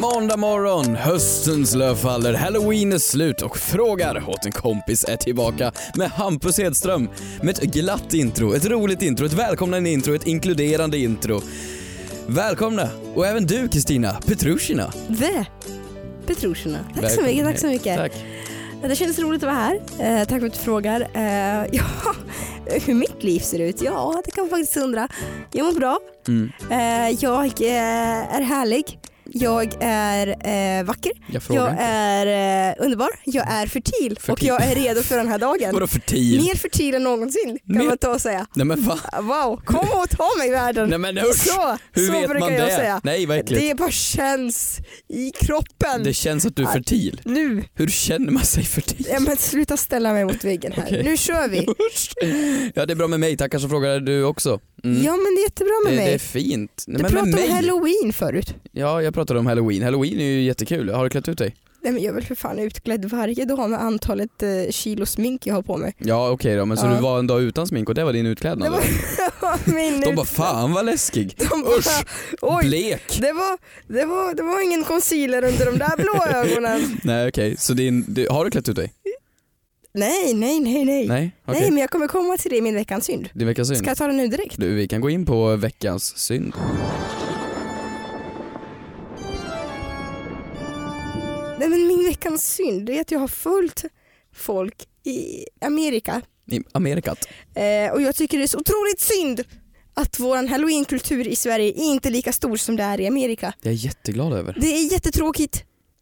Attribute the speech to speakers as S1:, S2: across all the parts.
S1: Måndag morgon, höstens löv faller, halloween är slut och Frågar åt en kompis är tillbaka med Hampus Hedström. Med ett glatt intro, ett roligt intro, ett välkomnande intro, ett inkluderande intro. Välkomna! Och även du Kristina Petrushina.
S2: The Petrushina. Tack så
S1: Välkommen
S2: mycket. Tack
S1: hit.
S2: så mycket.
S1: Tack.
S2: Det känns roligt att vara här. Eh, tack för att du frågar. Eh, ja, hur mitt liv ser ut? Ja, det kan man faktiskt undra. Jag mår bra.
S1: Mm.
S2: Eh, jag eh, är härlig. Jag är eh, vacker.
S1: Jag frågar
S2: Jag
S1: inte.
S2: är eh, underbar. Jag är fertil, och
S1: Fertil.
S2: jag är redo för den här dagen.
S1: Vadå fertil?
S2: Mer fertil än någonsin kan
S1: Mer-
S2: man ta och säga.
S1: Nej men va?
S2: Wow, kom och ta mig världen.
S1: Nej men usch!
S2: Så,
S1: Hur
S2: så
S1: vet
S2: brukar
S1: man
S2: jag
S1: det?
S2: säga.
S1: Nej vad äckligt.
S2: Det bara känns i kroppen.
S1: Det... känns att du är fertil.
S2: Nu!
S1: Hur känner man sig fertil?
S2: Ja, men sluta ställa mig mot väggen här.
S1: Okej.
S2: Nu kör vi.
S1: Usch. Ja det är bra med mig, tackar så frågar du också. Mm.
S2: Ja men det är jättebra med
S1: det,
S2: mig.
S1: det är fint. Nej, men
S2: du
S1: med
S2: pratade
S1: mig.
S2: om halloween förut.
S1: Ja, jag pratade om halloween. Halloween är ju jättekul. Har du klätt ut dig?
S2: Nej men jag är väl för fan utklädd varje dag med antalet eh, kilo smink jag har på mig.
S1: Ja, okej då. Men så
S2: Ja.
S1: du var en dag utan smink och det var din utklädnad?
S2: Det var
S1: då?
S2: min
S1: De bara
S2: ut-
S1: fan vad läskig.
S2: De bara,
S1: Usch,
S2: Oj,
S1: Blek.
S2: det var, det, var, det var ingen concealer under de där blå ögonen.
S1: Nej okej, så din, du, har du klätt ut dig?
S2: Nej, nej, nej, nej.
S1: Nej? Okej.
S2: Nej men jag kommer komma till det i min veckans synd.
S1: Din veckans synd.
S2: Ska jag ta den nu direkt?
S1: Du, vi kan gå in på veckans synd.
S2: Nej men min veckans synd det är att jag har följt folk i Amerika
S1: I Amerikat.
S2: Eh, och jag tycker det är så otroligt synd att vår halloweenkultur i Sverige är inte lika stor som det är i Amerika.
S1: Det är jag jätteglad över.
S2: Det är jättetråkigt.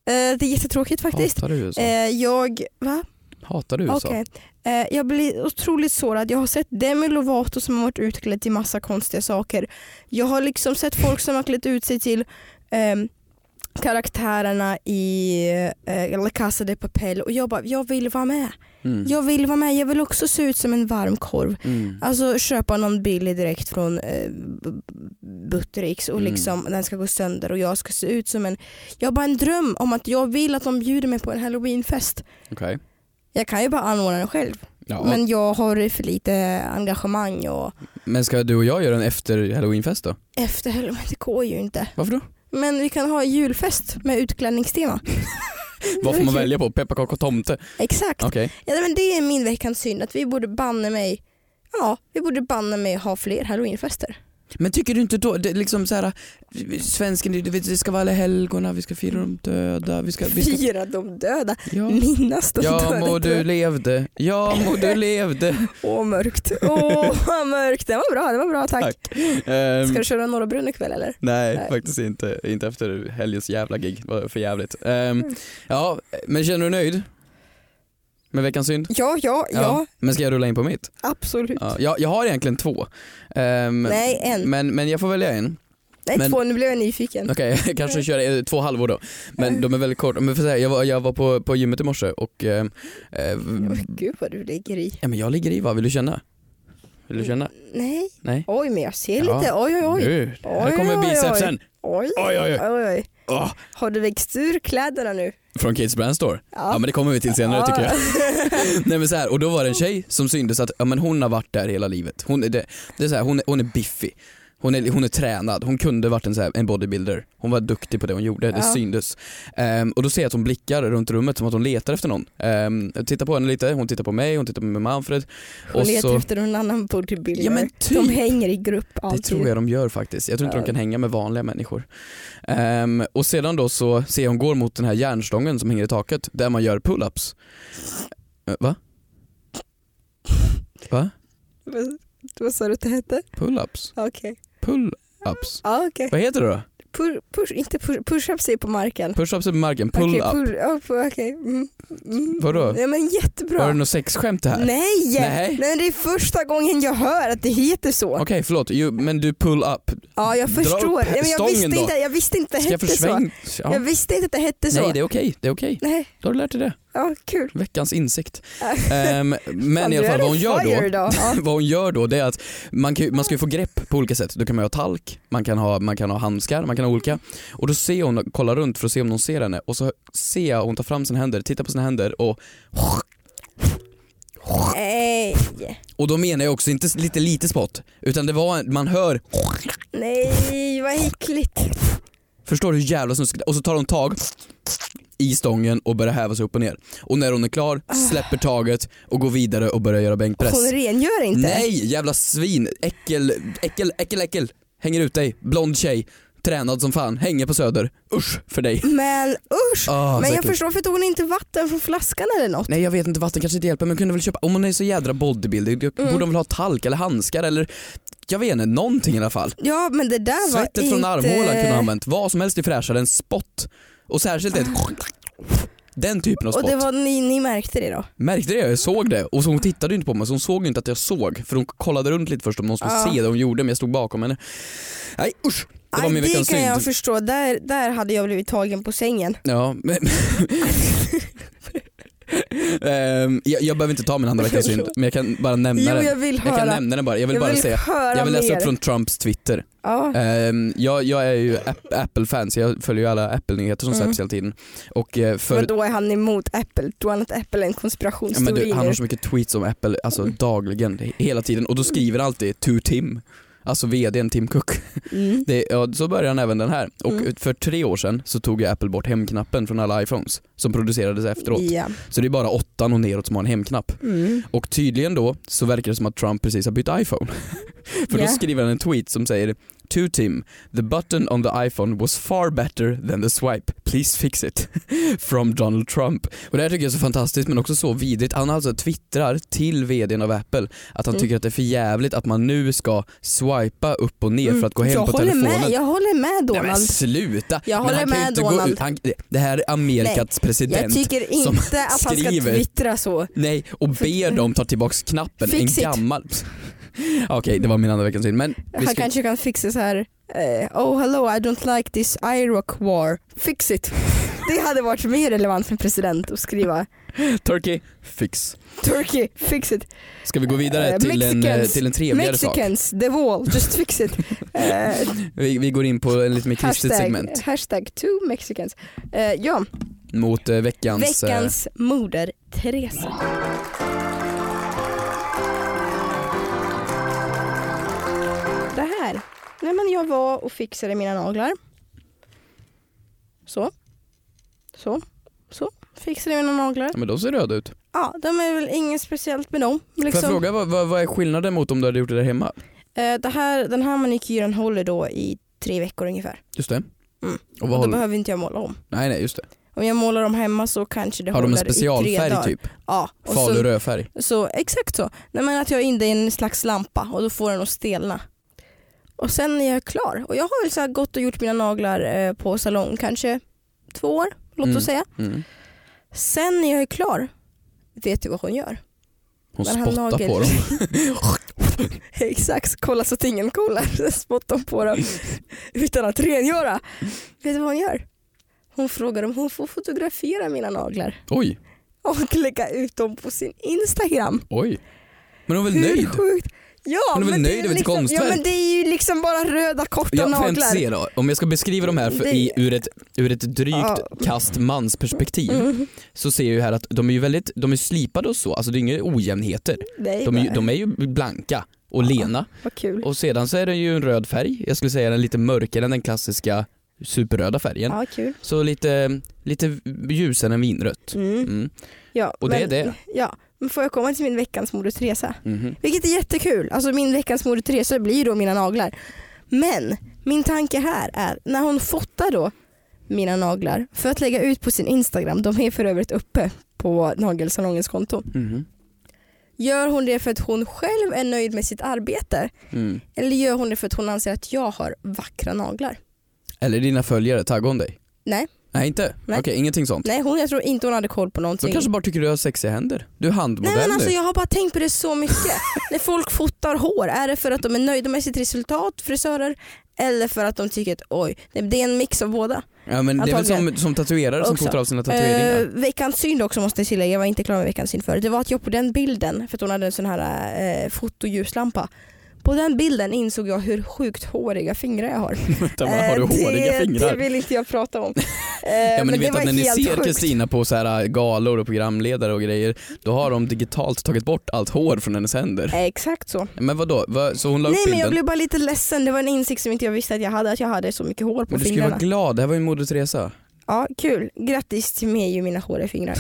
S2: Eh, det är jättetråkigt faktiskt.
S1: Hatar du USA?
S2: Eh, jag, va?
S1: Hatar du USA?
S2: Okej. Eh, jag blir otroligt sårad. Jag har sett Demi Lovato som har varit utklädd till massa konstiga saker. Jag har liksom sett folk som har klätt ut sig till ehm, karaktärerna i eh, La Casa de Papel och jag bara, jag vill vara med.
S1: Mm.
S2: Jag vill vara med. Jag vill också se ut som en varm korv.
S1: Mm.
S2: Alltså köpa någon billig direkt från eh, B- Buttericks och
S1: Mm.
S2: liksom den ska gå sönder och jag ska se ut som en... Jag har bara en dröm om att jag vill att de bjuder mig på en halloweenfest.
S1: Okej.
S2: Jag kan ju bara anordna den själv
S1: Ja. Men...
S2: men jag har för lite engagemang och
S1: ska du och jag göra en efter halloweenfest då?
S2: efter halloween, det går ju inte.
S1: Varför då?
S2: Men vi kan ha julfest med utklädningstema.
S1: Vad får man
S2: Verkligen.
S1: välja på? Pepparkaka och tomte?
S2: Exakt.
S1: Okej.
S2: Ja, men det är min veckans synd att vi borde banne mig Ja, vi borde banne mig ha fler halloweenfester.
S1: Men tycker du inte då, det är liksom så här, svensken, du vet, det ska vara alla helgona, vi ska fira de döda, vi ska... Vi ska
S2: Fira de döda,
S1: ja.
S2: minnas de
S1: ja
S2: döda.
S1: må
S2: inte.
S1: du levde, ja må du levde.
S2: Åh mörkt. Åh vad mörkt. Det var bra, det var bra tack. Mm.
S1: Tack.
S2: Ska du köra Norra Brunn ikväll eller?
S1: Ehm, nej,
S2: Nej.
S1: faktiskt inte. Inte efter helgens jävla gig, det var för jävligt.
S2: Mm.
S1: Ehm, ja, men känner du nöjd? Med veckans synd?
S2: Ja, ja, ja.
S1: Men ska jag rulla in på mitt?
S2: Absolut.
S1: Ja, jag, jag har egentligen två. Ehm,
S2: Nej, en.
S1: Men, men jag får välja en.
S2: Nej
S1: men-
S2: två, nu blev jag nyfiken.
S1: Okej, kanske köra eh, två halvor då. Men de är väldigt korta. Men för att säga, jag, var, jag var på, på gymmet i morse och eh, eh,
S2: Oj, Gud vad du ligger i.
S1: ja, men jag ligger i va, vill du känna? Vill du känna?
S2: Nej.
S1: Nej.
S2: Oj men jag ser
S1: Ja.
S2: lite. Oj oj oj.
S1: Nu,
S2: Oj,
S1: här kommer
S2: oj, oj.
S1: bicepsen.
S2: Oj
S1: Oj, oj, oj.
S2: oj. oj.
S1: Åh,
S2: Har du växt ur kläderna nu?
S1: från Kids Brand Store. Ja. men det kommer vi till senare
S2: Ja.
S1: tycker jag. Nej men så här, och då var det en tjej som syntes att ja, men hon har varit där hela livet. Hon är, det, det är så här, hon är, hon är biffig. Hon är, hon är tränad, hon kunde varit en, så här, en bodybuilder. Hon var duktig på det hon gjorde, det
S2: Ja.
S1: syndes. Ehm, och då ser jag att hon blickar runt rummet som att hon letar efter någon. Ehm, jag tittar på henne lite, hon tittar på mig, hon tittar på Manfred.
S2: Hon
S1: och
S2: letar
S1: så,
S2: efter någon annan bodybuilder.
S1: Ja, men
S2: De
S1: typ.
S2: hänger i grupp
S1: Det
S2: alltid.
S1: tror jag de gör faktiskt. Jag tror inte de
S2: Ja.
S1: kan hänga med vanliga människor. Ehm, och sedan då så ser jag hon går mot den här järnstången som hänger i taket där man gör pull-ups. Eh, va? Va?
S2: Vad- Vad sa du att det hette?
S1: Pull-ups?
S2: Okej.
S1: Pull-ups?
S2: Ja okej.
S1: Vad heter det då?
S2: Pu- Push, inte push, push-ups är på marken.
S1: Push-ups är på marken,
S2: Okej,
S1: pull-up.
S2: pull- ja, pu- Okej. Mm. Mm.
S1: Vadå?
S2: Ja, men jättebra.
S1: Var det något sexskämt det här?
S2: Nej!
S1: Nej.
S2: Nej. men det är första gången jag hör att det heter så.
S1: Okej förlåt, jo, men du pull-up.
S2: Ja, jag
S1: Dra
S2: förstår.
S1: upp
S2: Ja, men jag,
S1: stången
S2: visste
S1: då.
S2: inte, jag visste inte att det
S1: Ska jag
S2: hette så.
S1: försvänga? Ja.
S2: Jag visste inte att det hette så.
S1: Nej det är okej, det är okej.
S2: Nej.
S1: Då har du lärt dig det.
S2: Ja, kul.
S1: Veckans insikt. Ehm, men i alla fall vad hon gör då, vad hon gör då det är att man, kan, ju- man ska ju få grepp på olika sätt. Då kan man ha talk, man kan ha, man kan ha handskar, man kan ha olika. Och då ser hon, kollar runt för att se om någon ser henne och så ser jag hon tar fram sina händer, tittar på sina händer och
S2: Nej,
S1: och då menar jag också inte s- lite lite spott utan det var, en- man hör,
S2: nej vad äckligt.
S1: förstår du hur jävla snuskigt Och så tar hon tag i stången och börjar häva sig upp och ner. Och när hon är klar släpper taget och går vidare och börjar göra bänkpress.
S2: Hon rengör inte.
S1: Nej, jävla svin. Äckel, äckel, äckel, äckel. Hänger ut dig. Blond tjej. Tränad som fan. Hänger på Söder. Usch för dig.
S2: Men usch.
S1: Ah,
S2: men jag
S1: säkert.
S2: förstår för tog hon inte vatten från flaskan eller något?
S1: Nej jag vet inte, vatten kanske inte hjälper men kunde väl köpa, om hon är så jädra bodybuilder då borde hon väl ha talk eller handskar eller jag vet inte, någonting i alla fall.
S2: Ja men det där var
S1: Svettet
S2: inte...
S1: från armhålan kunde hon ha använt, vad som helst är fräschare än spott. Och särskilt ett den typen av
S2: Och
S1: spott.
S2: det var ni, ni märkte det då?
S1: Märkte det? Jag såg det. Och så hon tittade ju inte på mig så hon såg ju inte att jag såg. För hon kollade runt lite först om någon skulle
S2: Ja.
S1: se det hon gjorde men jag stod bakom henne. Nej usch! Det var
S2: Aj,
S1: min
S2: det kan
S1: veckans synd.
S2: jag förstå, där, där hade jag blivit tagen på sängen.
S1: Ja, men... Ehm, jag, jag behöver inte ta min andra veckans synd, men jag kan bara nämna
S2: Jo
S1: den.
S2: jag vill höra.
S1: Jag kan nämna den bara, jag vill bara säga.
S2: höra
S1: Jag vill läsa
S2: mer.
S1: upp från Trumps Twitter.
S2: Ja.
S1: Ehm, jag, jag är ju App- Apple-fan så jag följer ju alla Apple-nyheter som
S2: Mm.
S1: släpps hela tiden. Och eh,
S2: Men
S1: för...
S2: då är han emot Apple, då är han att Apple är en
S1: Ja, men
S2: konspirationsteori
S1: du, han
S2: nu.
S1: har så mycket tweets om Apple, alltså
S2: Mm.
S1: dagligen, he- hela tiden. Och då skriver han alltid to Tim, alltså vdn Tim Cook.
S2: Mm.
S1: Det, ja, så började han även den här. Och
S2: Mm.
S1: för tre år sedan så tog ju Apple bort hemknappen från alla iPhones som producerades efteråt.
S2: Ja.
S1: Så det är bara åttan och neråt som har en hemknapp.
S2: Mm.
S1: Och tydligen då så verkar det som att Trump precis har bytt iPhone. För
S2: Ja.
S1: då skriver han en tweet som säger To Tim, the button on the iPhone was far better than the swipe. Please fix it. From Donald Trump. Och det här tycker jag är så fantastiskt men också så vidrigt. Han alltså twittrar till VDn av Apple att han
S2: Mm.
S1: tycker att det är för jävligt att man nu ska swipa upp och ner för att gå hem
S2: Mm. jag
S1: på
S2: håller
S1: telefonen.
S2: Med, jag håller med
S1: Nej, men
S2: Donald.
S1: sluta!
S2: Jag
S1: men
S2: håller
S1: han kan ju
S2: med
S1: inte Gå
S2: Donald.
S1: ut. Han, det här är Amerikas president.
S2: jag tycker
S1: som
S2: inte att han ska
S1: skriver.
S2: twittra så.
S1: Nej, och ber dem ta tillbaks knappen.
S2: Fix
S1: en
S2: it.
S1: gammal... Okej, det var min andra veckans synd. Men vi
S2: Han
S1: ska...
S2: kanske kan fixa så här. eh, oh hello I don't like this Iraq war, fix it. Det hade varit mer relevant för en president att skriva
S1: Turkey, fix.
S2: Turkey, fix it.
S1: Ska vi gå vidare
S2: Eh,
S1: till, en, eh,
S2: Mexicans-
S1: till en trevligare sak?
S2: Mexicans, the wall, just fix it. Eh,
S1: Vi, vi går in på en lite mer kristet segment.
S2: hashtag, hashtag two Mexicans. Eh, ja,
S1: Mot eh, veckans... eh,
S2: veckans moder Teresa. Det här. Nej men jag var och fixade mina naglar. Så. Så. Så. Fixade mina naglar.
S1: Ja, men de ser röda ut.
S2: Ja, de är väl inget speciellt med dem.
S1: Får jag
S2: Liksom.
S1: fråga vad, vad, vad är skillnaden mot om du hade gjort det där hemma?
S2: Eh, det här, den här manikyren håller då i tre veckor ungefär.
S1: Just det.
S2: Mm.
S1: Och
S2: Och
S1: vad
S2: då
S1: håller...
S2: behöver inte jag måla om.
S1: Nej, nej, just det.
S2: Om jag målar dem hemma så kanske det
S1: Har de
S2: håller
S1: en
S2: i tre dagar.
S1: specialfärg typ?
S2: Ja, och så
S1: Faluröd färg?
S2: Så exakt så. Nej, men att jag är inne i en slags lampa och då får den att stelna. Och sen är jag klar. Och jag har väl så här gått och gjort mina naglar eh, på salong kanske två år, låt oss
S1: Mm.
S2: säga.
S1: Mm.
S2: Sen när jag är klar, vet du vad hon gör?
S1: Hon
S2: Men han
S1: spottar
S2: nagel-
S1: på dem.
S2: exakt, kolla så att ingen kollar. Sen spottar hon på dem utan att rengöra. Vet du vad hon gör? Hon frågar om hon får fotografera mina naglar
S1: Oj,
S2: och lägga ut dem på sin Instagram.
S1: oj. Men hon är väl
S2: Hur
S1: nöjd?
S2: sjukt? Ja,
S1: Hon är väl
S2: det
S1: nöjd över sitt
S2: liksom,
S1: konstverk?
S2: Ja men det är ju liksom bara röda korta
S1: Jag får jag inte
S2: naglar.
S1: se då. Om jag ska beskriva de här för,
S2: Det-
S1: i, ur, ett, ur ett drygt
S2: Ja. Mm.
S1: kast mansperspektiv så ser jag ju här att de är ju väldigt, de är slipade och så, alltså det är inga ojämnheter.
S2: Nej,
S1: De är, ju-
S2: nej.
S1: de är ju blanka och lena
S2: Vad kul.
S1: och sedan så är den ju en röd färg, jag skulle säga den är lite mörkare än den klassiska superröda färgen.
S2: Ja, kul.
S1: Så lite, lite ljusare än vinrött.
S2: Mm.
S1: Mm.
S2: Ja,
S1: Och det är det.
S2: Ja, men får jag komma till min veckans Moder Teresa?
S1: Mhm.
S2: Vilket är jättekul. Alltså min veckans Moder Teresa blir ju då mina naglar. Men min tanke här är när hon fotar då mina naglar för att lägga ut på sin Instagram, de är för övrigt uppe på nagelsalongens konto.
S1: Mhm.
S2: Gör hon det för att hon själv är nöjd med sitt arbete
S1: Mm.
S2: Eller gör hon det för att hon anser att jag har vackra naglar?
S1: Eller dina följare, taggar hon dig?
S2: Nej.
S1: Nej inte? Okej,
S2: Nej.
S1: ingenting sånt.
S2: Nej, hon, jag tror inte hon hade koll på
S1: De
S2: någonting.
S1: kanske bara tycker du har sexiga händer. Du är handmodell
S2: Nej men
S1: nu.
S2: alltså jag har bara tänkt på det så mycket. När folk fotar hår, är det för att de är nöjda med sitt resultat, frisörer? Eller för att de tycker att oj, det det är en mix av båda.
S1: Ja, men det är väl
S2: Antagligen.
S1: som, som tatuerare som
S2: Också.
S1: kotar av sina tatueringar.
S2: Eh, veckans synd också måste jag tillägga, jag var inte klar med veckans synd förut. Det var att jag på den bilden, för att hon hade en sån här eh, fotoljuslampa. På den bilden insåg jag hur sjukt håriga fingrar jag har.
S1: Vänta, bara, har du
S2: Eh, det-
S1: håriga
S2: Det
S1: fingrar?
S2: vill inte jag prata om. Eh,
S1: Ja, men ni
S2: det
S1: vet
S2: var
S1: att när ni
S2: helt
S1: ser
S2: sjukt.
S1: Kristina på så här äh, galor och programledare och grejer, då har de digitalt tagit bort allt hår från hennes händer.
S2: Eh, Exakt så.
S1: Men vadå, Va- så hon la upp
S2: Nej men jag
S1: bilden?
S2: blev bara lite ledsen, det var en insikt som inte jag visste att jag hade, att jag hade så mycket hår på
S1: Men du skulle
S2: fingrarna.
S1: vara glad, det här var ju Moder Teresa.
S2: Ja, kul. Grattis till mig och mina håriga fingrar.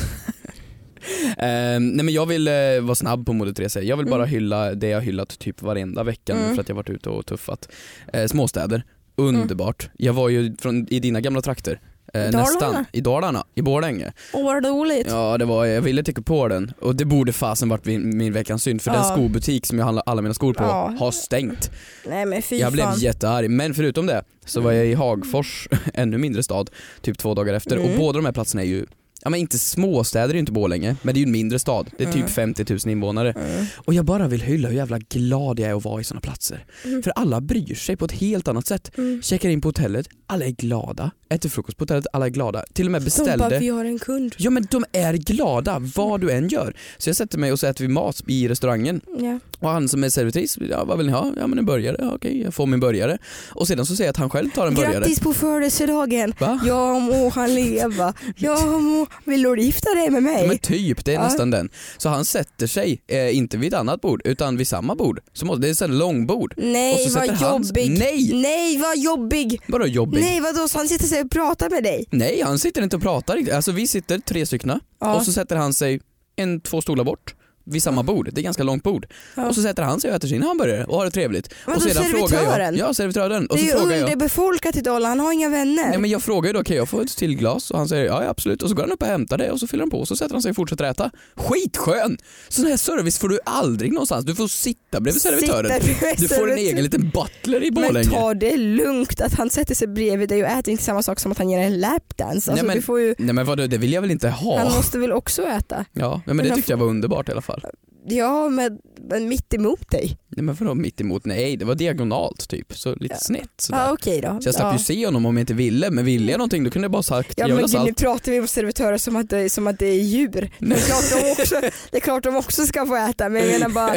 S1: Eh, nej men jag vill eh, vara snabb på Moder Teresa. Jag vill bara hylla det jag hyllat typ varenda vecka nu
S2: Mm.
S1: för att jag varit ute och tuffat. Eh, småstäder, underbart. Jag var ju från, i dina gamla trakter. Eh,
S2: Mm. Dalarna?
S1: Nästan, i Dalarna, i Borlänge.
S2: Åh vad roligt.
S1: Ja det var, jag ville tycka på den och det borde fasen varit min, min veckans synd för
S2: Ja.
S1: den skobutik som jag handlar alla mina skor på
S2: Ja.
S1: har stängt.
S2: Nej men fy
S1: Jag blev
S2: fan.
S1: jättearg men förutom det så var jag i Hagfors, ännu mindre stad, typ två dagar efter
S2: Mm.
S1: och båda de här platserna är ju Ja men inte småstäder, det är ju inte Borlänge, men det är ju en mindre stad. Det är
S2: Mm.
S1: typ 50 000 invånare. Och jag bara vill hylla hur jävla glad jag är att vara i sådana platser.
S2: Mm.
S1: För alla bryr sig på ett helt annat sätt. Checkar in på hotellet, alla är glada. Äter frukost på hotellet, alla är glada. Till och med
S2: De bara,
S1: beställde...
S2: vi har en kund.
S1: Ja men de är glada vad du än gör. Så jag sätter mig och så äter vi mat i restaurangen
S2: Ja.
S1: och han som är servitris, ja, vad vill ni ha? Ja men en burgare, ja, okej jag får min burgare. Och sedan så säger jag att han själv tar en burgare.
S2: Grattis på födelsedagen.
S1: Va?
S2: Ja må han leva. Ja må, vill du gifta dig med
S1: Ja,
S2: mig?
S1: men typ, det är
S2: Ja.
S1: nästan den. Så han sätter sig, eh, inte vid ett annat bord, utan vid samma bord. Så må- det är ett sånt här långbord. och
S2: Nej
S1: så
S2: vad
S1: sätter han-
S2: jobbig.
S1: Nej!
S2: Nej vad jobbig.
S1: Vadå jobbig? Nej.
S2: Nej vadå så han sitter sig och pratar med dig?
S1: han sitter inte och pratar riktigt. Alltså vi sitter tre stycken
S2: Ja.
S1: och så sätter han sig en, två stolar bort vid samma bord, det är ganska långt bord.
S2: Ja.
S1: Och så sätter han sig och äter sin hamburgare och har det trevligt.
S2: Vadå,
S1: och sedan frågar jag,
S2: servitören?
S1: Ja servitören. Och
S2: det
S1: så
S2: är
S1: frågar
S2: ju
S1: jag,
S2: underbefolkat i Dalarna, han har inga vänner.
S1: Nej, men jag frågar ju då, kan jag få ett till glas? Och han säger ja, ja absolut. Och så går han upp och hämtar det och så fyller han på och så sätter han sig och fortsätter äta. Skitskön! Sån här service får du aldrig någonstans. Du får sitta bredvid servitören.
S2: Sitter bredvid
S1: Du får en
S2: servitören.
S1: egen liten butler i
S2: Men
S1: Borlänge.
S2: ta det lugnt att han sätter sig bredvid dig och äter inte samma sak som att han ger en lapdance.
S1: Nej,
S2: Alltså,
S1: men-
S2: du får ju,
S1: Nej men vadå, det vill jag väl inte
S2: Han
S1: ha?
S2: måste väl också äta?
S1: Ja, men,
S2: Men
S1: det
S2: han
S1: tyckte jag var underbart i alla fall.
S2: Ja men, men mitt emot dig.
S1: Nej men vadå mitt emot? Nej, det var diagonalt typ, så lite snett sådär.
S2: Ja okej då.
S1: Så jag slapp
S2: ja.
S1: ju se honom om jag inte ville, men ville jag någonting då kunde jag bara sagt
S2: Ja
S1: jag vill
S2: men
S1: ha
S2: gud, nu
S1: salt.
S2: pratar vi om servitörer som att, det- som att det är djur. Det är, klart de också, det är klart de också ska få äta men jag menar bara,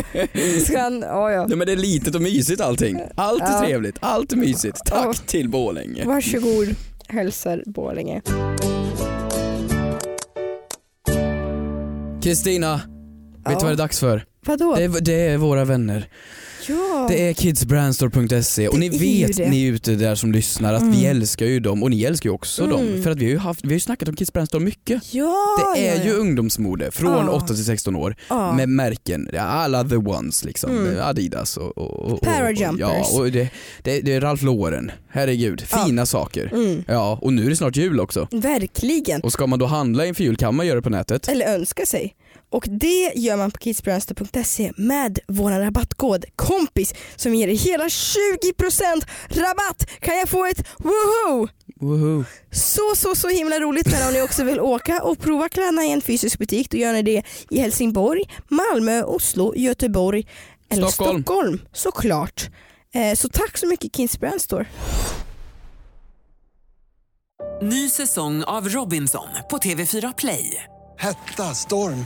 S2: ska han, ja ja.
S1: Nej men det är litet och mysigt allting. Allt är
S2: Ja.
S1: trevligt, allt är mysigt. Tack
S2: Ja.
S1: till Borlänge.
S2: Varsågod hälsar Borlänge.
S1: Kristina, vet du vad det är dags för?
S2: Vadå?
S1: Det är, det är våra vänner.
S2: ja.
S1: Det är kidsbrandstore.se och ni
S2: Det är ju
S1: vet
S2: det. Mm.
S1: ni ute där som lyssnar att vi älskar ju dem och ni älskar ju också dem för att vi har ju, haft, vi har ju snackat om kidsbrandstore mycket.
S2: ja,
S1: Det är
S2: ja,
S1: ju
S2: ja.
S1: ungdomsmode från
S2: Ja.
S1: 8 till 16 år
S2: Ja. Mm.
S1: med märken, ja, alla the ones liksom, Adidas och, och, och, och
S2: Parajumpers.
S1: Ja, och det, det, det är Ralph Lauren, herregud, fina saker. Ja, och nu är det snart jul också.
S2: Mm. Verkligen.
S1: Och ska man då handla inför jul kan man göra det på nätet.
S2: Eller önska sig. Och det gör man på kidsbrandster.se med vår rabattkod KOMPIS som ger er hela 20% rabatt. Kan jag få ett woho?
S1: Woho.
S2: Så så så himla roligt men om ni också vill åka och prova kläderna i en fysisk butik då gör ni det i Helsingborg, Malmö, Oslo, Göteborg eller
S1: Stockholm.
S2: Stockholm, såklart. Eh, Så tack så mycket Kids Brand Store.
S3: Ny säsong av Robinson på TV4 Play.
S4: Hetta, storm,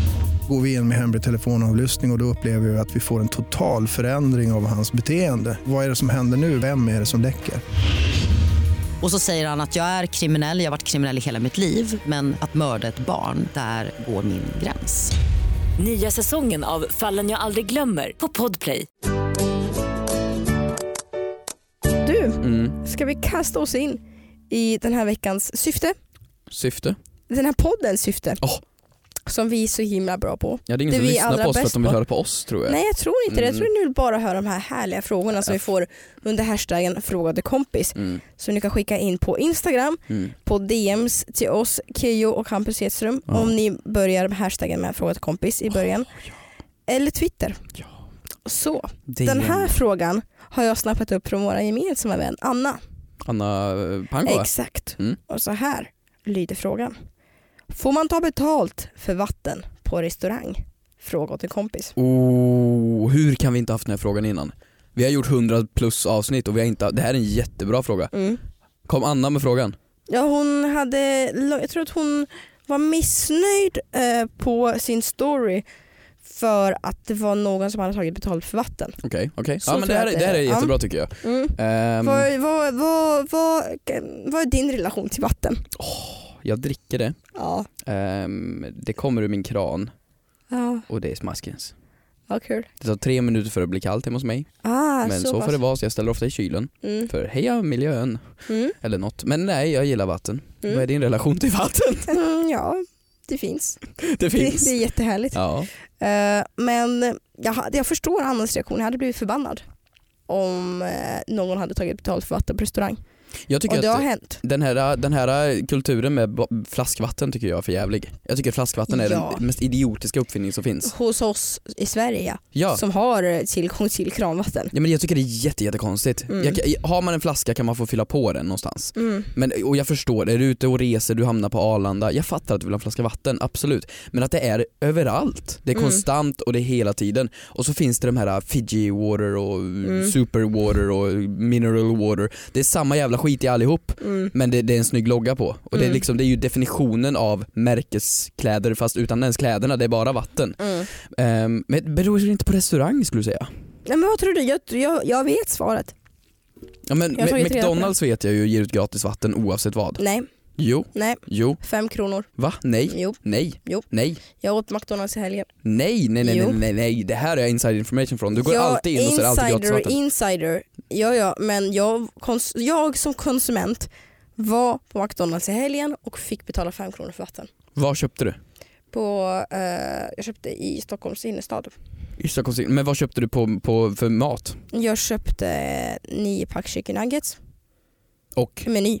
S5: Går vi in med hemlig telefonavlyssning och, och då upplever vi att vi får en total förändring av hans beteende. Vad är det som händer nu? Vem är det som läcker?
S6: Och så säger han att jag är kriminell, jag har varit kriminell i hela mitt liv men att mörda ett barn, där går min gräns.
S7: Nya säsongen av Fallen jag aldrig glömmer på Podplay.
S2: Du,
S1: Mm.
S2: ska vi kasta oss in i den här veckans syfte?
S1: Syfte?
S2: Den här poddens syfte.
S1: Åh.
S2: som vi är så himla bra på.
S1: Ja, det är ingen
S2: Det
S1: som
S2: vi är
S1: lyssnar
S2: allra
S1: på oss för att
S2: bäst
S1: de vill
S2: på.
S1: höra på oss tror jag.
S2: Nej jag tror inte det. Jag
S1: Mm.
S2: tror ni vill bara höra de här härliga frågorna som vi får under hashtaggen frågade kompis.
S1: Mm.
S2: Som ni kan skicka in på Instagram,
S1: Mm.
S2: på DMs till oss, Keyyo och Hampus Hedström.
S1: Ja.
S2: Om ni börjar med hashtaggen med frågade kompis i början. Eller Twitter.
S1: Ja.
S2: Så,
S1: Det är
S2: den här frågan har jag snappat upp från våra gemensamma vän Anna.
S1: Anna eh, Pango va?
S2: Exakt.
S1: Mm.
S2: Och så här lyder frågan. Får man ta betalt för vatten på restaurang? Fråga åt en kompis.
S1: Oh, hur kan vi inte haft den här frågan innan? Vi har gjort 100 plus avsnitt och vi har inte, det här är en jättebra fråga.
S2: Mm.
S1: Kom Anna med frågan.
S2: Ja, hon hade, jag tror att hon var missnöjd eh, på sin story för att det var någon som hade tagit betalt för vatten.
S1: Okej, okej.
S2: Så
S1: Ja
S2: tror
S1: men det här,
S2: jag
S1: är-
S2: att
S1: det här
S2: det
S1: är
S2: är. Ja.
S1: jättebra tycker jag.
S2: Mm.
S1: Ehm,
S2: Vad, vad, vad, vad, vad är din relation till vatten?
S1: jag dricker det.
S2: Ja,
S1: Ehm, det kommer ur min kran
S2: ja,
S1: och det är smaskens.
S2: ja kul.
S1: Det tar tre minuter för att bli kallt hemma hos mig.
S2: Ah,
S1: men så,
S2: pass.
S1: får det vara så jag ställer ofta i kylen.
S2: Mm.
S1: För heja miljön
S2: Mm.
S1: eller något. Men nej jag gillar vatten.
S2: Mm.
S1: Vad är din relation till vatten?
S2: Mm, ja, det finns.
S1: Det
S2: Det,
S1: finns.
S2: det är jättehärligt.
S1: Ja.
S2: Eh, men jag, hade- jag förstår Annas reaktion, jag hade blivit förbannad om eh, någon hade tagit betalt för vatten på restaurang.
S1: Jag tycker
S2: Och det har
S1: att
S2: hänt.
S1: den här, den här kulturen med ba- flaskvatten tycker jag är för jävlig. Jag tycker flaskvatten är
S2: Ja.
S1: den mest idiotiska uppfinning som finns.
S2: Hos oss i Sverige ja.
S1: Ja.
S2: som har eh, tillgång till kranvatten.
S1: Ja, men jag tycker det är jätte, jättekonstigt.
S2: Mm.
S1: Jag kan- har man en flaska kan man få fylla på den någonstans.
S2: Mm.
S1: Men, och jag förstår, är du ute och reser, du hamnar på Arlanda, jag fattar att du vill ha en flaska vatten, absolut. Men att det är överallt, det är
S2: Mm.
S1: konstant och det är hela tiden. Och så finns det de här Fiji water och
S2: Mm.
S1: super water och mineral water. Det är samma jävla skit i allihop.
S2: Mm.
S1: Men det, det är en snygg logga på. Och det, är
S2: Mm.
S1: liksom, det är ju definitionen av märkeskläder fast utan ens kläderna, det är bara vatten.
S2: Mm.
S1: Ehm, men beror det inte på restaurang skulle du säga?
S2: Nej, men vad tror du? Jag, jag, jag vet svaret.
S1: Ja, men
S2: Jag har tagit reda på
S1: McDonalds vet jag ju ger ut gratis vatten oavsett vad.
S2: Nej,
S1: Jo,
S2: nej.
S1: jo,
S2: Fem kronor.
S1: va? Nej,
S2: Jo,
S1: nej,
S2: Jo.
S1: nej,
S2: jag åt McDonalds i helgen.
S1: nej, nej, nej, nej,
S2: Jo.
S1: nej, nej, det här är inside information från. Du går
S2: jag,
S1: alltid in och ser alltid gratis
S2: insider,
S1: vatten.
S2: insider. Ja, ja, men jag, kons- jag som konsument var på McDonalds i helgen och fick betala fem kronor för vatten.
S1: Vad köpte du?
S2: På, eh, jag köpte i Stockholms innerstad.
S1: I Stockholms in- Men vad köpte du på, på, för mat?
S2: Jag köpte eh, nio pack chicken nuggets.
S1: Och
S2: Meny.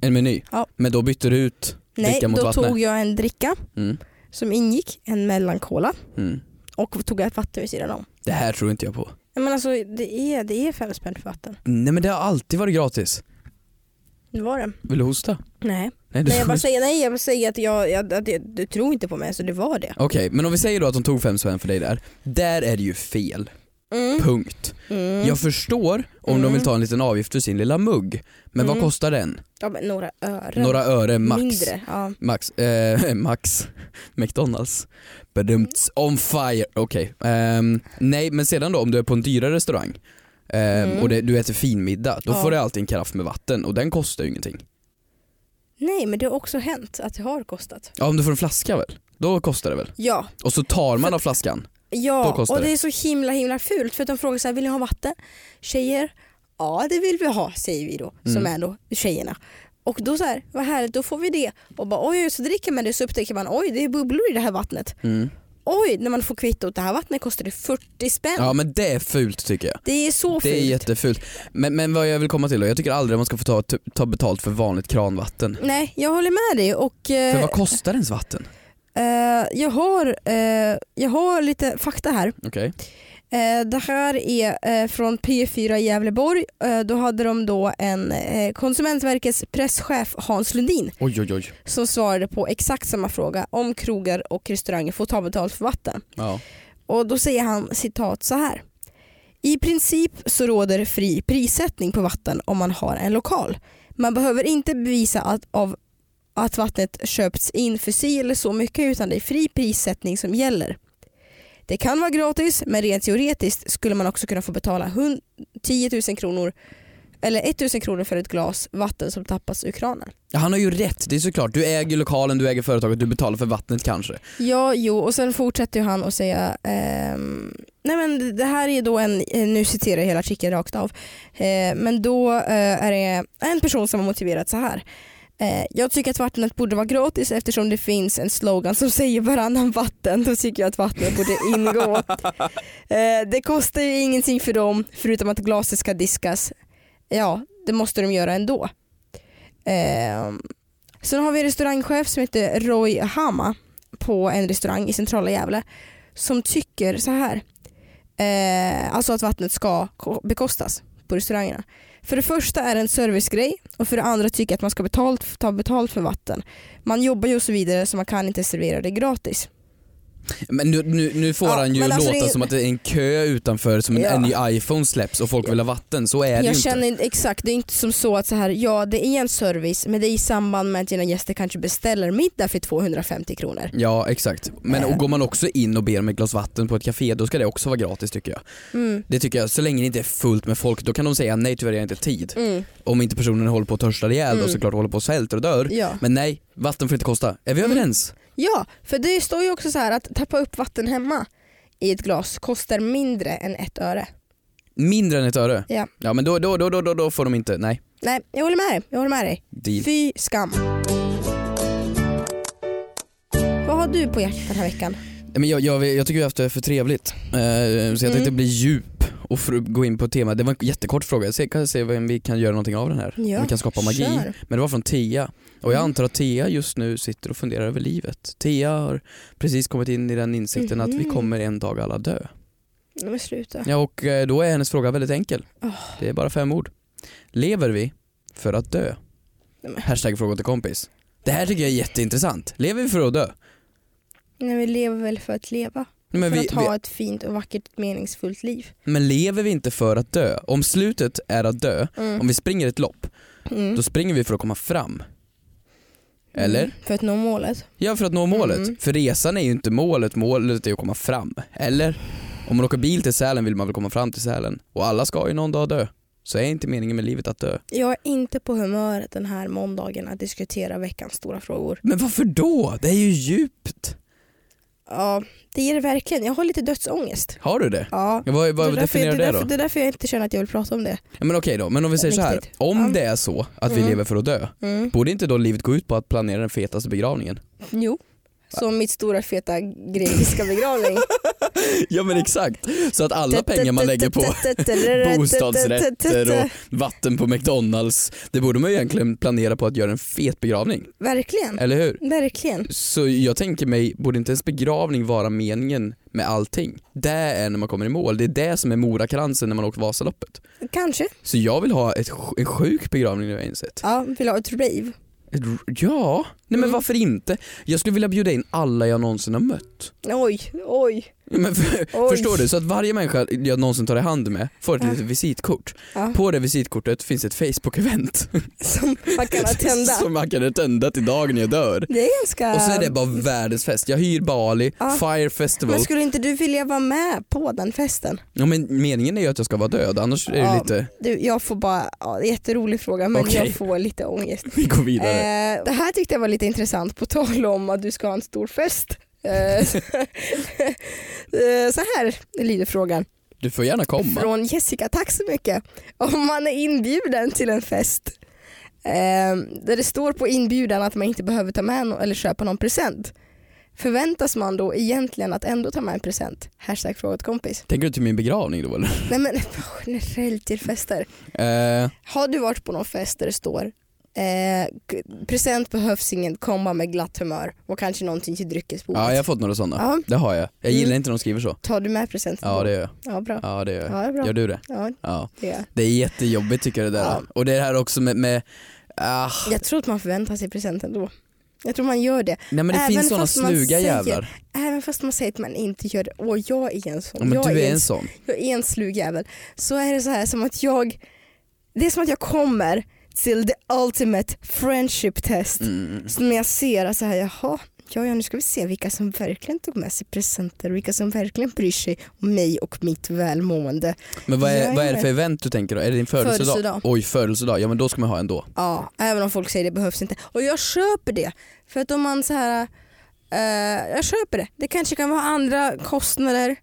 S1: en meny?
S2: Ja.
S1: Men då bytte du ut
S2: Nej,
S1: dricka mot
S2: då
S1: vattnet?
S2: tog jag en dricka
S1: Mm,
S2: som ingick, en mellankola
S1: mm.
S2: och tog ett vatten vid sidan om.
S1: Det här tror inte jag på.
S2: Nej, Men alltså, det, är, det är fem spänn för vatten.
S1: Nej men det har alltid varit gratis.
S2: Det var det.
S1: Vill du hosta?
S2: Nej.
S1: Nej, du...
S2: Nej jag bara säger, nej, jag bara säger att, jag, jag, att jag, du tror inte på mig så det var det.
S1: Okej, men om vi säger då att de tog fem spänn för dig där. Där är det ju fel.
S2: Mm.
S1: Punkt.
S2: Mm.
S1: Jag förstår om de
S2: Mm.
S1: vill ta en liten avgift för sin lilla mugg. Men vad
S2: Mm.
S1: kostar den?
S2: Ja, men några ören.
S1: Några öre max.
S2: Mindre. Ja.
S1: Max. Eh, max. McDonalds. Bedumts.
S2: Mm.
S1: On fire. Okej. Ehm, nej men sedan då om du är på en dyrare restaurang ehm,
S2: Mm.
S1: och det, du äter finmiddag. Då
S2: Ja.
S1: får du alltid en karaff med vatten och den kostar ju ingenting.
S2: Nej men det har också hänt att det har kostat.
S1: Ja om du får en flaska väl? Då kostar det väl?
S2: Ja,
S1: Och så tar man av flaskan. Då
S2: ja.
S1: kostar
S2: och
S1: det.
S2: det är så himla himla fult för att de frågar så här, vill ni ha vatten? Tjejer, ja det vill vi ha säger vi då som
S1: Mm.
S2: är då tjejerna. Och då så här, vad härligt då får vi det och bara oj oj, så dricker man det så upptäcker man oj det är bubblor i det här vattnet.
S1: Mm.
S2: Oj, när man får kvittot, det här vattnet kostar det 40 spänn.
S1: Ja men det är fult tycker jag.
S2: Det är så fult.
S1: Det är jättefult. Men, men vad jag vill komma till då, jag tycker aldrig man ska få ta, ta betalt för vanligt kranvatten.
S2: Nej, jag håller med dig och
S1: För
S2: eh,
S1: vad kostar ens vatten?
S2: eh, jag, har, eh, jag har lite fakta här.
S1: Okej.
S2: Eh, det här är eh, från P4 i Gävleborg. Eh, då hade de då en eh, Konsumentverkets presschef Hans Lundin
S1: Oj oj oj.
S2: som svarade på exakt samma fråga om krogar och restauranger får ta betalt för vatten.
S1: Ja.
S2: Och då säger han citat så här. I princip så råder fri prissättning på vatten om man har en lokal. Man behöver inte bevisa att, av, att vattnet köpts in för si eller så mycket utan det är fri prissättning som gäller. Det kan vara gratis men rent teoretiskt skulle man också kunna få betala hun- 10 000 kronor eller 1 000 kronor för ett glas vatten som tappas ur kranen.
S1: Ja, Han har ju rätt, det är såklart. Du äger lokalen, du äger företaget, du betalar för vattnet kanske.
S2: Ja, jo, och sen fortsätter ju han att säga ehm, Nej men det här är då en, eh, nu citerar jag hela artikeln rakt av, eh, men då eh, är det en person som har motiverat så här. Eh, jag tycker att vattnet borde vara gratis eftersom det finns en slogan som säger varannan vatten. Då tycker jag att vattnet borde ingå. eh, det kostar ju ingenting för dem förutom att glaset ska diskas. Ja, det måste de göra ändå. Eh, sen har vi en restaurangchef som heter Roy Hama på en restaurang i centrala Gävle som tycker så här. Eh, alltså att vattnet ska ko- bekostas på restaurangerna. För det första är det en servicegrej och för det andra tycker jag att man ska betalt, ta betalt för vatten. Man jobbar ju och så vidare så man kan inte servera det gratis.
S1: Men nu, nu, nu får
S2: Ja,
S1: han ju
S2: men alltså
S1: låta
S2: det är-
S1: som att det är en kö utanför som en,
S2: Ja.
S1: en ny iPhone släpps och folk vill ha vatten. Så är det
S2: jag
S1: ju
S2: känner
S1: inte.
S2: inte, exakt, det är inte som så att så här, ja det är en service men det är i samband med att dina gäster kanske beställer middag för 250 kronor.
S1: Ja exakt. Men och går man också in och ber om ett glas vatten på ett café då ska det också vara gratis tycker jag.
S2: Mm.
S1: Det tycker jag, så länge det inte är fullt med folk då kan de säga nej tyvärr jag har inte tid.
S2: Mm.
S1: Om inte personen håller på att törsta ihjäl då såklart håller på att svälter och dör.
S2: Ja. Mm.
S1: Men nej, vatten får inte kosta. Är vi överens?
S2: Ja, för det står ju också så här att tappa upp vatten hemma i ett glas kostar mindre än ett öre.
S1: Mindre än ett öre?
S2: Ja.
S1: Ja men då, då, då, då, då, då får de inte, nej.
S2: Nej, jag håller med dig. Jag håller med dig.
S1: Deal.
S2: Fy skam. Vad har du på hjärtat den här veckan?
S1: Nej, Men jag, jag, jag tycker vi har haft det för trevligt. Eh, Så jag tänkte
S2: Mm.
S1: bli djup och fr- gå in på ett tema. Det var en jättekort fråga, jag ser- kan se om vi kan göra någonting av den här.
S2: Ja,
S1: om vi kan skapa magi.
S2: kör. Mm.
S1: Men det var från Tia. Och jag antar att Tia just nu sitter och funderar över livet. Tia har precis kommit in i den insikten att vi
S2: Mhm.
S1: kommer en dag alla dö.
S2: Nej men sluta.
S1: Ja, och eh, då är hennes fråga väldigt enkel. Det är bara fem ord. Lever vi för att dö?
S2: Nej, men-
S1: Hashtag fråga till kompis. Det här tycker jag är jätteintressant. Lever vi för att dö?
S2: Nej, vi lever väl för att leva?
S1: Nej, men
S2: för
S1: vi-
S2: att ha ett fint och vackert meningsfullt liv.
S1: Men lever vi inte för att dö? Om slutet är att dö, om vi springer ett lopp,
S2: Mm.
S1: då springer vi för att komma fram. Eller?
S2: Mm, För att nå målet.
S1: Ja, för att nå målet.
S2: Mm.
S1: För resan är ju inte målet, målet är att komma fram. Eller? Om man åker bil till Sälen vill man väl komma fram till Sälen? Och alla ska ju någon dag dö. Så är inte meningen med livet att dö.
S2: Jag är inte på humöret den här måndagen att diskutera veckans stora frågor.
S1: Men varför då? Det är ju djupt.
S2: Ja, det är det verkligen. Jag har lite dödsångest.
S1: Har du det?
S2: Ja.
S1: Ja, Vad, vad
S2: är därför-
S1: definierar
S2: det, är
S1: det
S2: därför,
S1: då?
S2: det är därför jag inte känner att jag vill prata om det.
S1: Ja, men okej då, men om vi säger så här.
S2: Riktigt.
S1: Om
S2: Ja.
S1: det är så att vi lever för att dö,
S2: Mm.
S1: borde inte då livet gå ut på att planera den fetaste begravningen?
S2: Jo. Som mitt stora feta grekiska begravning.
S1: Ja men exakt, så att alla pengar man lägger på bostadsrätter och vatten på McDonalds, det borde man ju egentligen planera på att göra en fet begravning,
S2: Verkligen.
S1: eller hur?
S2: Verkligen.
S1: Så jag tänker mig, borde inte ens begravning vara meningen med allting? Det är när man kommer i mål, det är det som är morakransen när man åkt Vasaloppet.
S2: Kanske.
S1: Så jag vill ha ett, sj- en sjuk begravning nu har jag insett.
S2: Ja, vill ha ett rave?
S1: Ett r- Ja, nej men varför inte? Jag skulle vilja bjuda in alla jag någonsin har mött.
S2: Oj, oj.
S1: Ja, Men för,
S2: Oj.
S1: förstår du? Så att varje människa jag någonsin tar i hand med får ett litet visitkort.
S2: Ja.
S1: På det visitkortet finns ett Facebook-event.
S2: Som man kan tända.
S1: Som man kan tända till dagen jag dör.
S2: Det är ganska...
S1: Och så är det bara världens fest. Jag hyr Bali,
S2: Ja.
S1: Fire Festival.
S2: Men skulle inte du vilja vara med på den festen?
S1: Ja, men meningen är ju att jag ska vara död, annars är det
S2: Ja.
S1: lite...
S2: Du, jag får bara, ja, det är en jätterolig fråga men
S1: Okej.
S2: jag får lite ångest.
S1: Vi går vidare.
S2: Eh, det här tyckte jag var lite intressant, på tal om att du ska ha en stor fest. Eh, eh, så här lyder frågan.
S1: Du får gärna komma.
S2: Från Jessica, tack så mycket. Om man är inbjuden till en fest eh, där det står på inbjudan att man inte behöver ta med no- eller köpa någon present. Förväntas man då egentligen att ändå ta med en present? Hashtag fråga åt kompis.
S1: Tänker du till min begravning då eller?
S2: Nej men generellt till fester.
S1: Eh,
S2: Har du varit på någon fest där det står eh, g- present behövs ingen, komma med glatt humör och kanske någonting till dryckesbordet.
S1: ja, jag har fått några sådana.
S2: Ja.
S1: Det har jag. Jag gillar
S2: Mm.
S1: inte när de skriver så.
S2: Tar du med present? till
S1: Ja,
S2: bordet?
S1: det gör jag.
S2: Ja, bra. Ja.
S1: Ja, det gör jag.
S2: det är bra.
S1: Gör du det?
S2: Ja,
S1: Ja.
S2: det gör jag.
S1: Det är jättejobbigt tycker jag det där.
S2: Ja.
S1: Och det här också med, med ah,
S2: jag tror att man förväntar sig present ändå. Jag tror man gör det.
S1: Nej men det
S2: Även
S1: finns såna
S2: fast man
S1: sluga
S2: säger-
S1: jävlar.
S2: Även fast man säger att man inte gör det, och jag är en sån.
S1: Ja, men
S2: jag,
S1: du är
S2: en,
S1: en sån.
S2: jag är en slug jävel. Så är det så här som att jag, det är som att jag kommer till the ultimate friendship test.
S1: Mm.
S2: Som jag ser att så här, jaha, ja, ja nu ska vi se vilka som verkligen tog med sig presenter, vilka som verkligen bryr sig om mig och mitt välmående.
S1: Men vad är,
S2: Jag
S1: vad är det
S2: är-
S1: för event du tänker då? Är det din födelsedag?
S2: Födelsedag.
S1: Oj, födelsedag. Ja men då ska man ha en då.
S2: Ja, även om folk säger det behövs inte. Och jag köper det. För att om man så här, eh, jag köper det. Det kanske kan vara andra kostnader.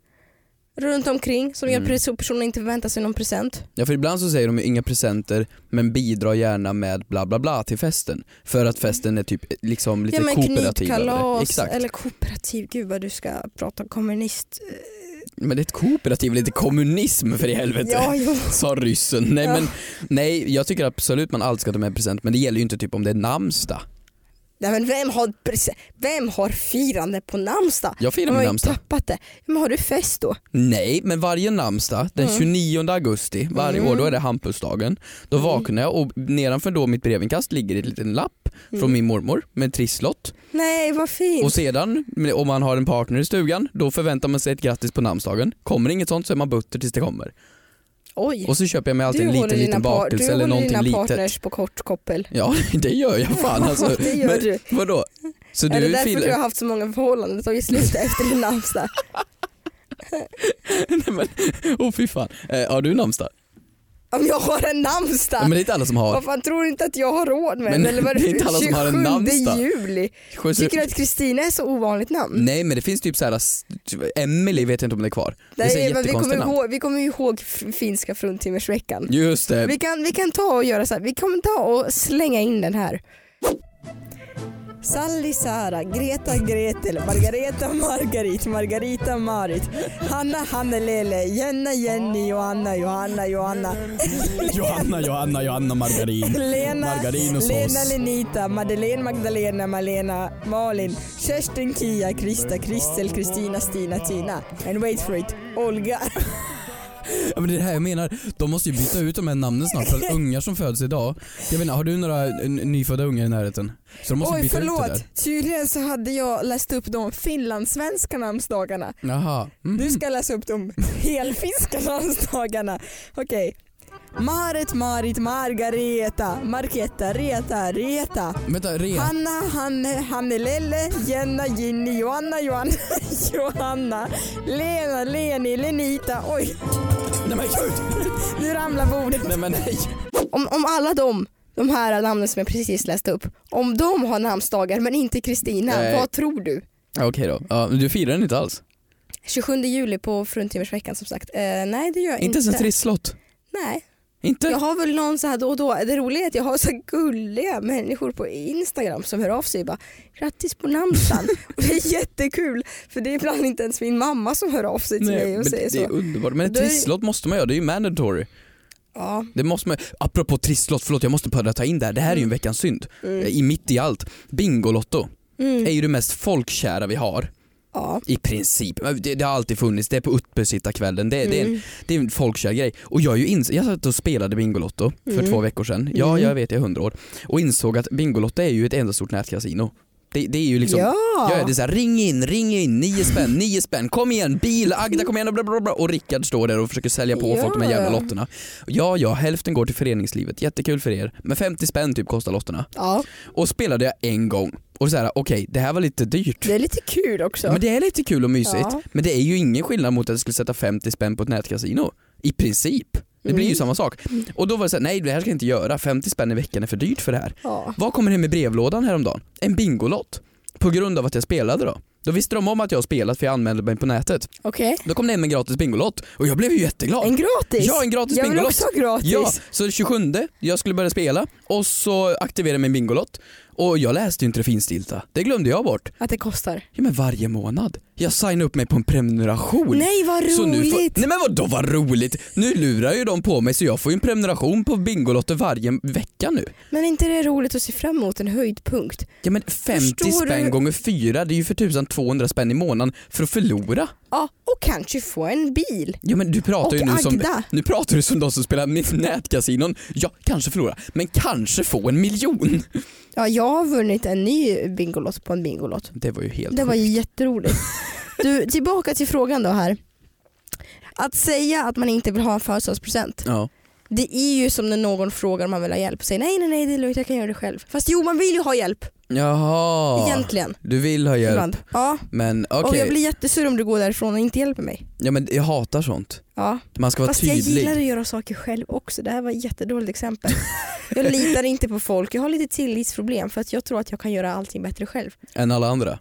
S2: runt omkring som
S1: Mm.
S2: gör precis så personen inte förväntar sig någon present.
S1: Ja för ibland så säger de ju inga presenter men bidra gärna med bla bla bla till festen. För att festen är typ eh, liksom lite
S2: ja men
S1: kooperativare.
S2: knytkalas
S1: Exakt.
S2: eller kooperativ, gud vad du ska prata kommunist.
S1: Men det är ett kooperativ, lite kommunism för i helvete.
S2: Ja, jo.
S1: Sa ryssen. Nej
S2: Ja.
S1: men nej, jag tycker absolut man alltid ska ta med present men det gäller ju inte typ om det är namnsdag.
S2: Nej, men vem, har prese- vem har firande på namnsdag?
S1: Jag firar
S2: De har
S1: min
S2: ju
S1: namnsdag.
S2: tappat det. Men har du fest då?
S1: Nej, men varje namnsdag
S2: Mm.
S1: den 29 augusti varje år, då är det Hampusdagen. Då
S2: Mm.
S1: vaknar jag och nedanför då mitt brevinkast ligger en liten lapp
S2: Mm.
S1: från min mormor med en trisslott.
S2: Nej vad fint.
S1: Och sedan, om man har en partner i stugan, då förväntar man sig ett grattis på namnsdagen. Kommer inget sånt så är man butter tills det kommer.
S2: Oj.
S1: Och så köper jag mig alltid en
S2: håller
S1: liten, liten
S2: par-
S1: bakelse eller
S2: Du
S1: någonting
S2: håller dina
S1: litet.
S2: partners på kort koppel.
S1: Ja, det gör jag fan alltså.
S2: Det gör
S1: men,
S2: du.
S1: Vadå? Så
S2: är det
S1: du
S2: därför
S1: filar...
S2: du har haft så många förhållanden och tagit slut efter din namnsdag?
S1: Nej, men, oh, fy fan. Eh, har du namnsdag?
S2: Om jag har en namnsdag?
S1: Ja, men det är inte alla som har.
S2: Vad fan tror du inte att jag har råd med
S1: Men
S2: den? Eller vad
S1: det är inte alla som har en
S2: 27
S1: namnsdag.
S2: juli.
S1: Sju-
S2: Tycker du att Kristina är så ovanligt namn?
S1: Nej men det finns typ såhär, s- typ, Emily vet jag inte om det är kvar. Det är så
S2: Nej, men vi, kommer
S1: jättekonstiga namn.
S2: ihåg, vi kommer ju ihåg f- finska fruntimmersveckan.
S1: Just det.
S2: Vi kan, vi kan ta och göra så här. Vi kommer ta och slänga in den här. Sally, Sara, Greta, Gretel, Margareta, Margarit, Margarita, Marit, Hanna, Hannelele, Jenna, Jenny, Johanna, Johanna, Johanna,
S1: Johanna, Johanna, Johanna Margarin.
S2: Lena,
S1: Margarinosås.
S2: Lena, Lenita, Madeleine, Magdalena, Malena, Malin, Kerstin, Kia, Krista, Kristel, Kristina, Stina, Tina. And wait for it, Olga.
S1: Ja, men det är det här jag menar, de måste ju byta ut de här namnen snart för ungar som föds idag. Jag vet inte, har du några eh, n- nyfödda ungar i närheten? Så de måste
S2: Oj
S1: byta ut det
S2: förlåt,
S1: där.
S2: tydligen så hade jag läst upp de finlandssvenska namnsdagarna.
S1: Jaha. Mm.
S2: Du ska läsa upp de helfinska namnsdagarna. Okej. Marit, Marit, Margareta, Marketta, Reta, Reta.
S1: Vänta, Rea.
S2: Hanna, Hanne, Hannelelle, Jenna, Ginny, Johanna, Johanna, Johanna, Lena, Leni, Lenita. Oj,
S1: Nej men gud!
S2: nu ramlar bordet.
S1: Nej men nej.
S2: Om, om alla de, de här namnen som jag precis läste upp, om de har namnsdagar men inte Kristina,
S1: Nej.
S2: vad tror du?
S1: Ja, Okej då, ja, men du firar den inte alls?
S2: 27 juli på fruntimmersveckan som sagt. Eh, nej det gör jag
S1: Inte
S2: inte.
S1: ens en trisslott?
S2: Nej.
S1: Inte?
S2: Jag har väl någon så här då och då. Det roliga är att jag har så här gulliga människor på Instagram som hör av sig och bara grattis på namnsdagen. och det är jättekul för det är ibland inte ens min mamma som hör av sig till mig
S1: men
S2: och säger
S1: det, det är
S2: så.
S1: underbart. Men en
S2: Det är-
S1: trisslott måste man göra, det är ju mandatory.
S2: Ja.
S1: Det måste man, apropå trisslott, förlåt jag måste bara ta in det här, det här är ju
S2: Mm.
S1: en veckans synd. I mitt i allt. Bingolotto
S2: Mm.
S1: är ju det mest folkkära vi har.
S2: Ja.
S1: I princip. Det, det har alltid funnits, det är på uppesittarkvällen, det, det, är
S2: Mm.
S1: en- det är en folkkär grej. Och jag, är ju ins- jag satt och spelade Bingolotto för
S2: Mm.
S1: två veckor sedan, ja jag vet jag är hundra år, och insåg att Bingolotto är ju ett enda stort nätkasino. Det, det är ju liksom,
S2: Ja.
S1: det är så här, ring in, ring in, nio spänn, nio spänn, kom igen, bil, Agda kom igen och bla bla bla. Och Rickard står där och försöker sälja på
S2: Ja.
S1: folk de här jävla lotterna. Ja, ja, hälften går till föreningslivet, jättekul för er. Men 50 spänn typ kostar lotterna.
S2: ja,
S1: Och spelade jag en gång och så här, okej, det här var lite dyrt.
S2: det är lite kul också.
S1: Men det är lite kul och mysigt.
S2: Ja.
S1: Men det är ju ingen skillnad mot att jag skulle sätta 50 spänn på ett nätkasino. I princip. Det blir ju
S2: Mm.
S1: samma sak. Och då var det såhär, nej det här ska jag inte göra. 50 spänn i veckan är för dyrt för det här.
S2: Ja.
S1: Vad kommer hem i brevlådan häromdagen? En bingolott. På grund av att jag spelade då. Då visste de om att jag har spelat för jag anmälde mig på nätet.
S2: Okej.
S1: Då kom det hem en gratis bingolott och jag blev ju jätteglad.
S2: En gratis?
S1: Ja, en gratis
S2: Jag vill
S1: bingolott.
S2: också ha gratis.
S1: Ja, så 27, jag skulle börja spela och så aktiverade jag min bingolott. Och jag läste ju inte det finstilta. Det glömde jag bort.
S2: Att det kostar.
S1: Ja men varje månad. Jag signar upp mig på en prenumeration.
S2: Nej, vad
S1: Så nu
S2: roligt.
S1: får, nej men vadå vad roligt? Nu lurar ju de på mig så jag får ju en prenumeration på Bingolotter varje vecka nu.
S2: Men är inte det roligt att se fram emot en höjdpunkt?
S1: Ja men 50
S2: Förstår
S1: spänn
S2: du?
S1: gånger fyra, det är ju för tusan 200 spänn i månaden för att förlora.
S2: Ja, och kanske få en bil.
S1: Ja men du pratar
S2: Och
S1: ju nu som,
S2: Agda.
S1: nu pratar du som de som spelar med nätkasinon. Ja, kanske förlora, men kanske få en miljon.
S2: Ja, jag har vunnit en ny Bingolott på en Bingolott.
S1: Det var ju helt
S2: Det var
S1: sjukt.
S2: ju jätteroligt. Du, tillbaka till frågan då här. Att säga att man inte vill ha en födelsedagspresent,
S1: Ja.
S2: det är ju som när någon frågar om man vill ha hjälp och säger nej, nej, nej, det är lugnt, jag kan göra det själv. Fast jo, man vill ju ha hjälp
S1: Jaha.
S2: egentligen.
S1: Du vill ha hjälp,
S2: Ibland. Ja,
S1: men
S2: och
S1: okej.
S2: jag blir jättesur om du går därifrån och inte hjälper mig.
S1: Ja men jag hatar sånt.
S2: Ja.
S1: Man ska vara
S2: Fast jag
S1: tydlig.
S2: gillar att göra saker själv också, det här var ett jättedåligt exempel. Jag litar inte på folk, jag har lite tillitsproblem för att jag tror att jag kan göra allting bättre själv.
S1: än alla andra.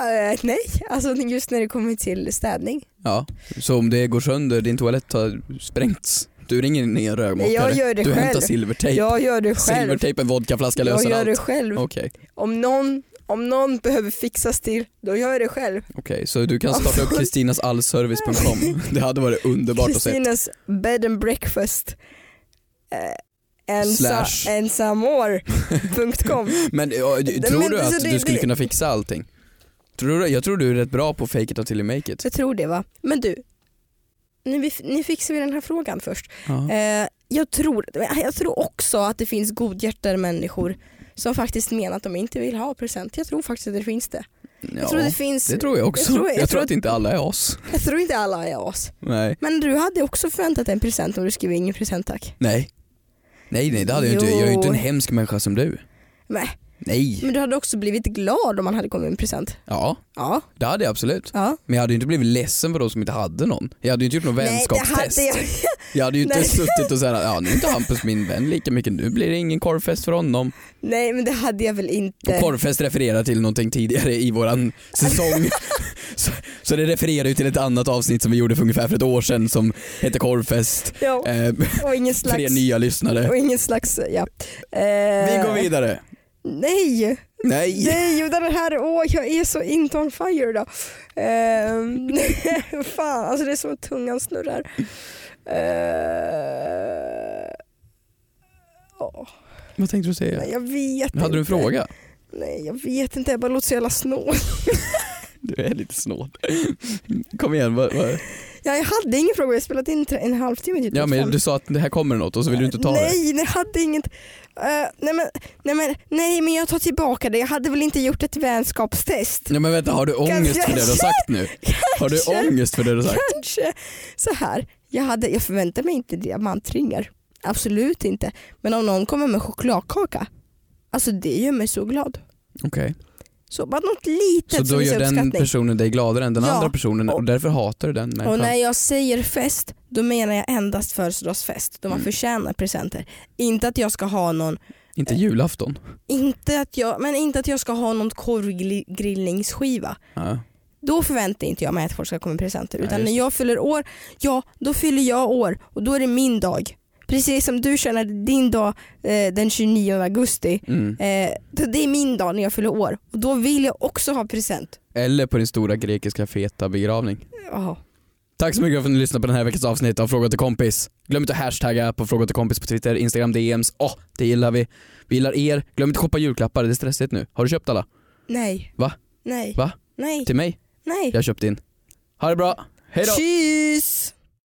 S2: Eh, nej, alltså just när det kommer till städning.
S1: Ja, så om det går sönder, din toalett har sprängts, du ringer ner en rörmokare,
S2: Jag gör det
S1: du hämtar
S2: själv.
S1: silvertejp,
S2: Jag gör det själv.
S1: silvertejp, en vodkaflaska
S2: Jag
S1: löser
S2: gör
S1: allt.
S2: det själv.
S1: Okej,
S2: Om någon, om någon behöver fixas till, då gör jag det själv.
S1: okej, så du kan starta upp
S2: Varför?
S1: kristinasallservice.com. Det hade varit underbart att se.
S2: Kristinas bed and breakfast. Eh, ensa,
S1: Slash.
S2: ensamår.com
S1: Men ja, d-
S2: Nej,
S1: tror
S2: men
S1: du
S2: så
S1: att
S2: det-
S1: du skulle
S2: det-
S1: kunna fixa allting? Tror du, jag tror du är rätt bra på fake it until you make it.
S2: Jag tror det va. Men du, ni, vi- ni fixar vi den här frågan först.
S1: Ja.
S2: Eh, jag, tror, jag tror också att det finns godhjärtade människor som faktiskt menar att de inte vill ha present. Jag tror faktiskt att det finns det.
S1: Ja,
S2: jag tror det finns,
S1: det tror jag också. Jag tror,
S2: jag tror
S1: att inte alla är oss.
S2: jag tror inte alla är as.
S1: Nej,
S2: Men du hade också förväntat dig en present om du skrev ingen present tack.
S1: nej. Nej, nej det hade jag inte. Jag är ju inte en
S2: Jo.
S1: hemsk människa som du.
S2: Nej.
S1: Nej.
S2: Men du hade också blivit glad om man hade kommit med en present.
S1: Ja,
S2: Ja.
S1: det hade jag absolut.
S2: ja.
S1: Men jag hade ju inte blivit ledsen på de som inte hade någon. Jag hade ju inte gjort någon vänskapstest.
S2: Nej, det
S1: jag...
S2: hade jag.
S1: hade ju inte
S2: Nej.
S1: suttit och såhär, ja nu är inte Hampus min vän lika mycket, nu blir det ingen korvfest för honom.
S2: Nej men det hade jag väl inte.
S1: Och korvfest refererar till någonting tidigare i våran säsong. så, så det refererar ju till ett annat avsnitt som vi gjorde för ungefär för ett år sedan som heter korvfest.
S2: Ja,
S1: Eh,
S2: och ingen
S1: för er
S2: slags...
S1: nya lyssnare.
S2: Och ingen slags, ja.
S1: Eh. Vi
S2: Eh,
S1: går vidare.
S2: Nej!
S1: Nej.
S2: Nej, utan det här, åh jag är så inte on fire idag. Eh, fan, alltså det är som att tungan snurrar. Eh, åh,
S1: Vad tänkte du säga?
S2: nej, jag vet
S1: Hade du en
S2: inte.
S1: fråga?
S2: Nej, jag vet inte. Jag bara låter så jävla snål.
S1: Du är lite snål. Kom igen. Vad, vad?
S2: Ja, jag hade ingen fråga, vi har spelat in tre- en halvtimme. typ,
S1: Ja, men
S2: fem.
S1: du sa att det här kommer något och så vill du inte ta det.
S2: nej, nej, jag hade inget. Eh, nej, men, nej, men, nej, men jag tar tillbaka det. Jag hade väl inte gjort ett vänskapstest.
S1: Nej men vänta, har du ångest för det du har sagt nu? Har du ångest för det du har sagt?
S2: Kanske så här. Jag, hade, jag förväntar mig inte diamantringar. Absolut inte. Men om någon kommer med chokladkaka, alltså det gör mig så glad.
S1: Okej.
S2: Så bara något litet
S1: Så
S2: som
S1: då
S2: visar
S1: gör den
S2: uppskattning.
S1: personen dig gladare än den
S2: Ja.
S1: andra personen och
S2: Och-
S1: därför hatar du den människan?
S2: Och när jag säger fest, då menar jag endast födelsedagsfest då man
S1: Mm.
S2: förtjänar presenter. Inte att jag ska ha någon,
S1: Inte julafton?
S2: inte att jag, men inte att jag ska ha någon korvgrillningsskiva.
S1: Ja.
S2: Då förväntar inte jag mig att folk ska komma med presenter.
S1: Nej,
S2: Utan
S1: just
S2: när
S1: det.
S2: jag fyller år, ja då fyller jag år och då är det min dag. Precis som du känner din dag eh, den 29 augusti.
S1: Mm.
S2: Eh, då- det är min dag när jag fyller år och då vill jag också ha present.
S1: Eller på din stora grekiska feta begravning.
S2: Jaha.
S1: Tack så mycket för att ni lyssnade på den här veckans avsnitt av Fråga till kompis. Glöm inte att hashtagga på Fråga till kompis på Twitter, Instagram, DMs. Åh, det gillar vi. Vi gillar er. Glöm inte att shoppa julklappar, det är stressigt nu. Har du köpt alla?
S2: Nej.
S1: Va?
S2: Nej.
S1: Va?
S2: Nej.
S1: Till mig?
S2: Nej.
S1: Jag har köpt in. Ha det bra. Hej då!
S2: Kyss!